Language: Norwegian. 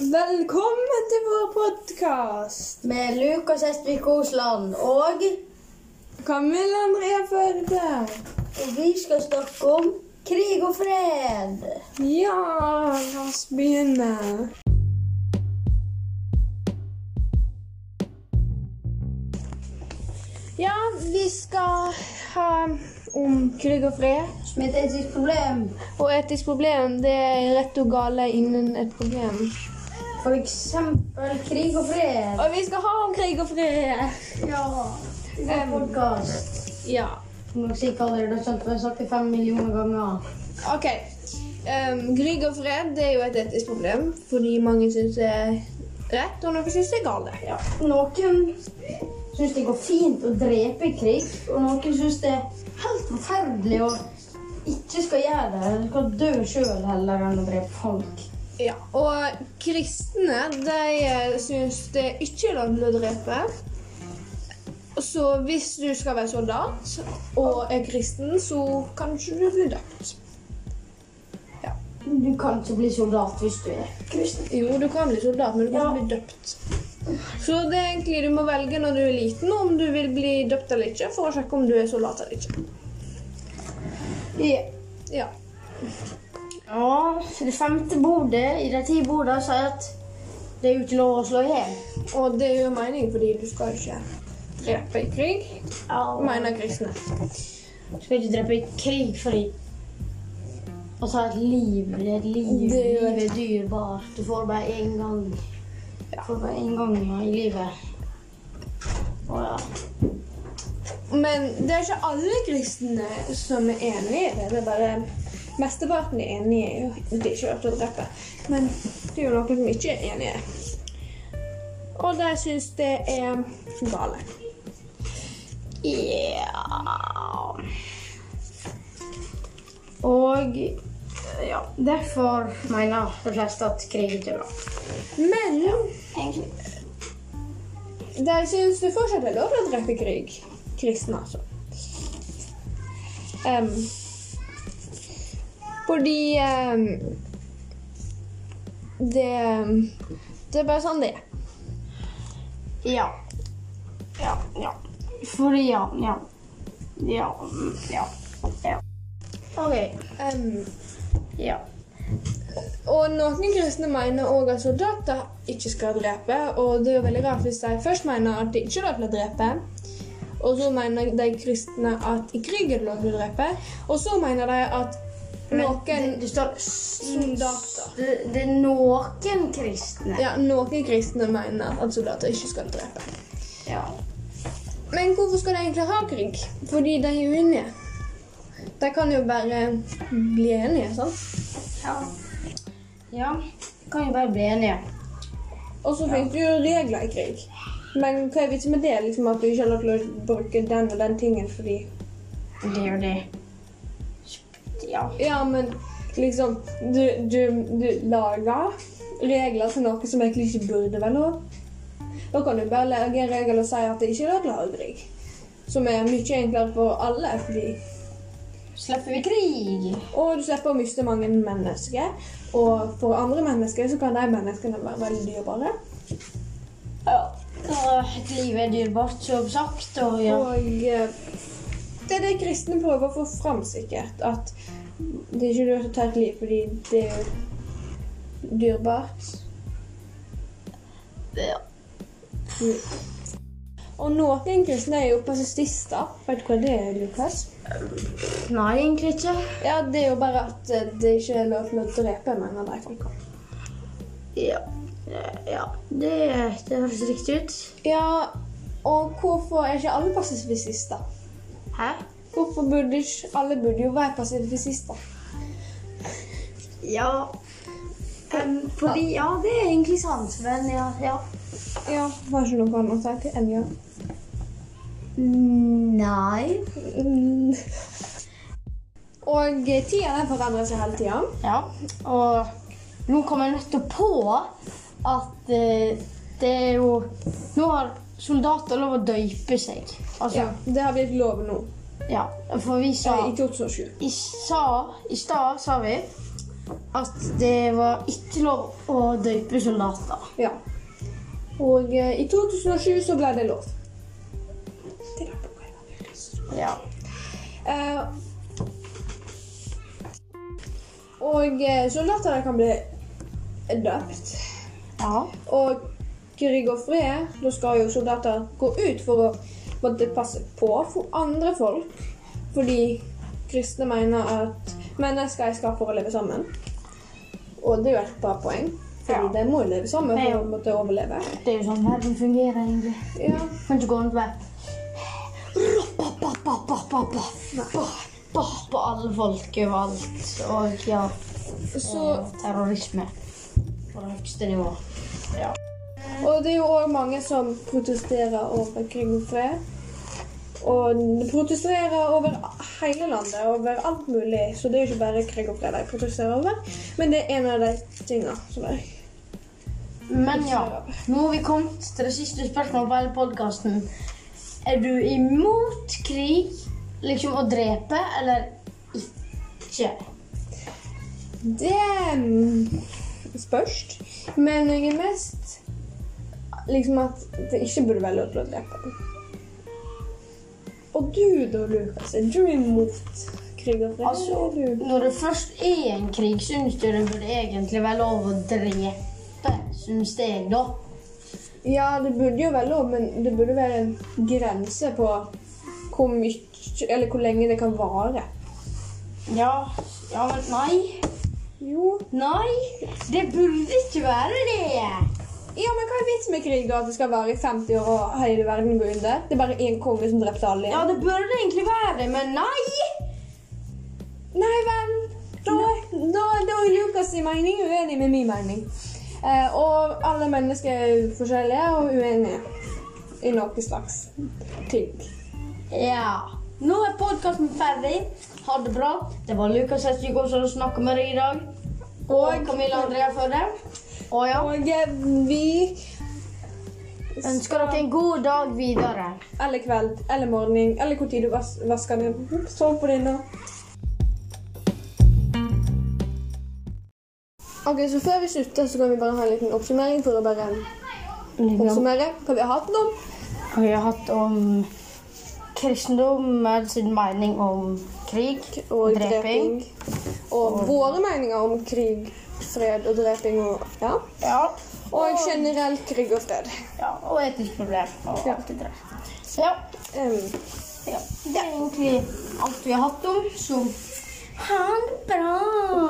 Velkommen til vår podkast! Med Lukas Estvik Osland og Camilla Andrea Førde. Og vi skal snakke om krig og fred. Ja, la oss begynne. Ja, vi skal ha om krig og fred. Som et etisk problem. Og etisk problem, det er rett og gale innen et problem. For eksempel krig og fred. Og vi skal ha om krig og fred. Ja. Em. Podkast. Ja. Som dere sikkert allerede har skjønt, vi har sagt det fem millioner ganger. Ok. Um, krig og fred det er jo et etisk problem, fordi mange syns det er rett, og noen syns det er galt. Ja. Noen syns det går fint å drepe i krig, og noen syns det er helt forferdelig å ikke skal gjøre det. eller skal dø sjøl heller enn å drepe folk. Ja. Og kristne de syns det er ikke er lov til å drepe. Så hvis du skal være soldat og er kristen, så kan ikke du bli døpt. Du kan ikke bli soldat hvis du er kristen. Jo, du kan bli soldat, men du kan Ja. ikke bli døpt. Så det er egentlig du må velge når du er liten om du vil bli døpt eller ikke, for å sjekke om du er soldat eller ikke. Ja. Ja. Ja, det femte bordet i de ti bordene sier at det er jo ikke lov å slå i hjel. Og det gjør mening, fordi du skal ikke drepe i krig, mener kristne. Du skal ikke drepe i krig fordi å ta et liv det er et liv. Det er jo Livet er dyrebart. Du får bare én gang. Du får bare én gang i livet. Å ja. Men det er ikke alle kristne som er enige i det. Det er bare Mesteparten er enige i at det ikke er lov til å drepe. Men det er jo noen som ikke er enige. Og de syns det er gale. Ja Og ja, derfor mener de fleste at krig ikke er bra. Men Egentlig. de syns det fortsatt er lov til å drepe i krig. Kristne, altså. Em, fordi em, det, det er bare sånn det er. Ja. Ja, ja. Fordi ja, ja. Ja, mm, ja. ja. OK. Em, Ja. Og noen kristne mener òg at soldater ikke skal drepe. Og det er jo veldig rart hvis de først mener at de ikke er lov til å drepe, og så mener de kristne at i krig er det lov til å drepe, og så mener de at noen det, det står soldater. soldater. Det, det er noen kristne. ja, noen kristne mener at soldater ikke skal drepe. Ja. Men hvorfor skal de egentlig ha krig? Fordi de er uenige. De kan jo bare bli enige, sant? Ja. ja. Kan jo bare bli enige. Og så finnes det jo regler i krig. Men hva er vitsen med det? Liksom At du ikke har lov til å bruke den og den tingen fordi Det er jo det. Ja. Ja, men liksom Du, du, du lager regler til noe som egentlig ikke burde være lov. Da kan du bare lage en regel og si at det ikke er lov til å ha krig. Som er mye enklere for alle. fordi Slipper vi krig? Og du slipper å miste mange mennesker. Og for andre mennesker så kan de menneskene være veldig dyrebare. Ja. Og et liv er dyrebart, som sagt. Og ja. Og eh, det er det kristne prøver å få fram, sikkert. At det er ikke lurt å ta et liv fordi det er jo dyrebart. ja. Og noen kristne er jo pasistister. Vet du hva det er, Lukas? Nei, egentlig ikke. Ja, Det er jo bare at eh, det ikke er lov til å drepe mange av de folka. Ja. ja. Det, det høres riktig ut. Ja, og hvorfor er ikke alle pasifister? Hæ? Hvorfor burde ikke Alle burde jo være pasifister. Ja. Em, fordi Ja, det er egentlig sant, men ja. ja. Ja, var ikke noe annet å si til enn ja. Nei. Mm. Og eh, tida den forandrer seg hele tida. Ja, og nå kom jeg nettopp på at eh, det er jo Nå har soldater lov å døype seg. Altså, Det har blitt lov nå. ja. For vi sa eh, I 2007. I, sa, I stad sa vi at det var ikke lov å døype soldater. Ja. Og eh, i 2007 så ble det lov. Det er da på hva jeg har lyst. Ja. Eh, og eh, soldater kan bli døpt. ja. Og krig og fred, da skal jo soldater gå ut for å måtte passe på for andre folk. Fordi kristne mener at mennesker er skapt for å leve sammen. Og det er jo et bra poeng, fordi Ja. de må jo leve sammen Det er for jo- å måtte overleve. Det er jo sånn verden fungerer, egentlig. Ja. Kan ikke gå rundt og være På alle folk overalt. Og ja, Så, eh, terrorisme på det høyeste nivå. Ja. og det er jo òg mange som protesterer over krig og fred. Og de protesterer over hele landet, over alt mulig. Så det er jo ikke bare krig og fred de protesterer over. Men det er en av de tinga som er Men ja, nå har vi kommet til det siste spørsmålet på hele podkasten. Er du imot krig, liksom å drepe, eller ikke? Det mm, spørs. Men jeg er mest liksom at det ikke burde være lov til å drepe. Og du da, Lukas? Er du imot krig og fred? Altså, eller er du... når det først er en krig, syns jeg det burde egentlig være lov å drepe, syns jeg, da. Ja, det burde jo være lov, men det burde være en grense på hvor mye Eller hvor lenge det kan vare. Ja, ja, men nei. Jo. Nei, det burde ikke være det. Ja, men Hva er vitsen med krig? da? At det skal vare i 50 år og hele verden går under? Det er bare én konge som drepte alle? Ja, det burde egentlig være det, men nei. Nei vel, da, da, da er Lukas' sin mening uenig med min mening. Eh, og alle mennesker er forskjellige og uenige i noe slags ting. Ja. Nå er podkasten ferdig. Ha det bra. Det var Lukas Hestegård som snakka med deg i dag. Og Camilla Andrea Førde. Og ja, Og eh, vi ønsker dere en god dag videre. Eller kveld, eller morgen, eller hvor tid du vas vasker den. Sov på den nå. Ok, så Før vi slutter, så kan vi bare ha en liten oppsummering for å bare oppsummere hva vi har hatt om. Og vi har hatt om kristendom, sin mening om krig og dreping. Og våre meninger om krig, fred og dreping og ja. Ja. Og generelt krig og fred. ja. Og etisk problem. Og Ja. alt det der. Ja. Em, ja. Det er egentlig alt vi har hatt om, så ha det bra.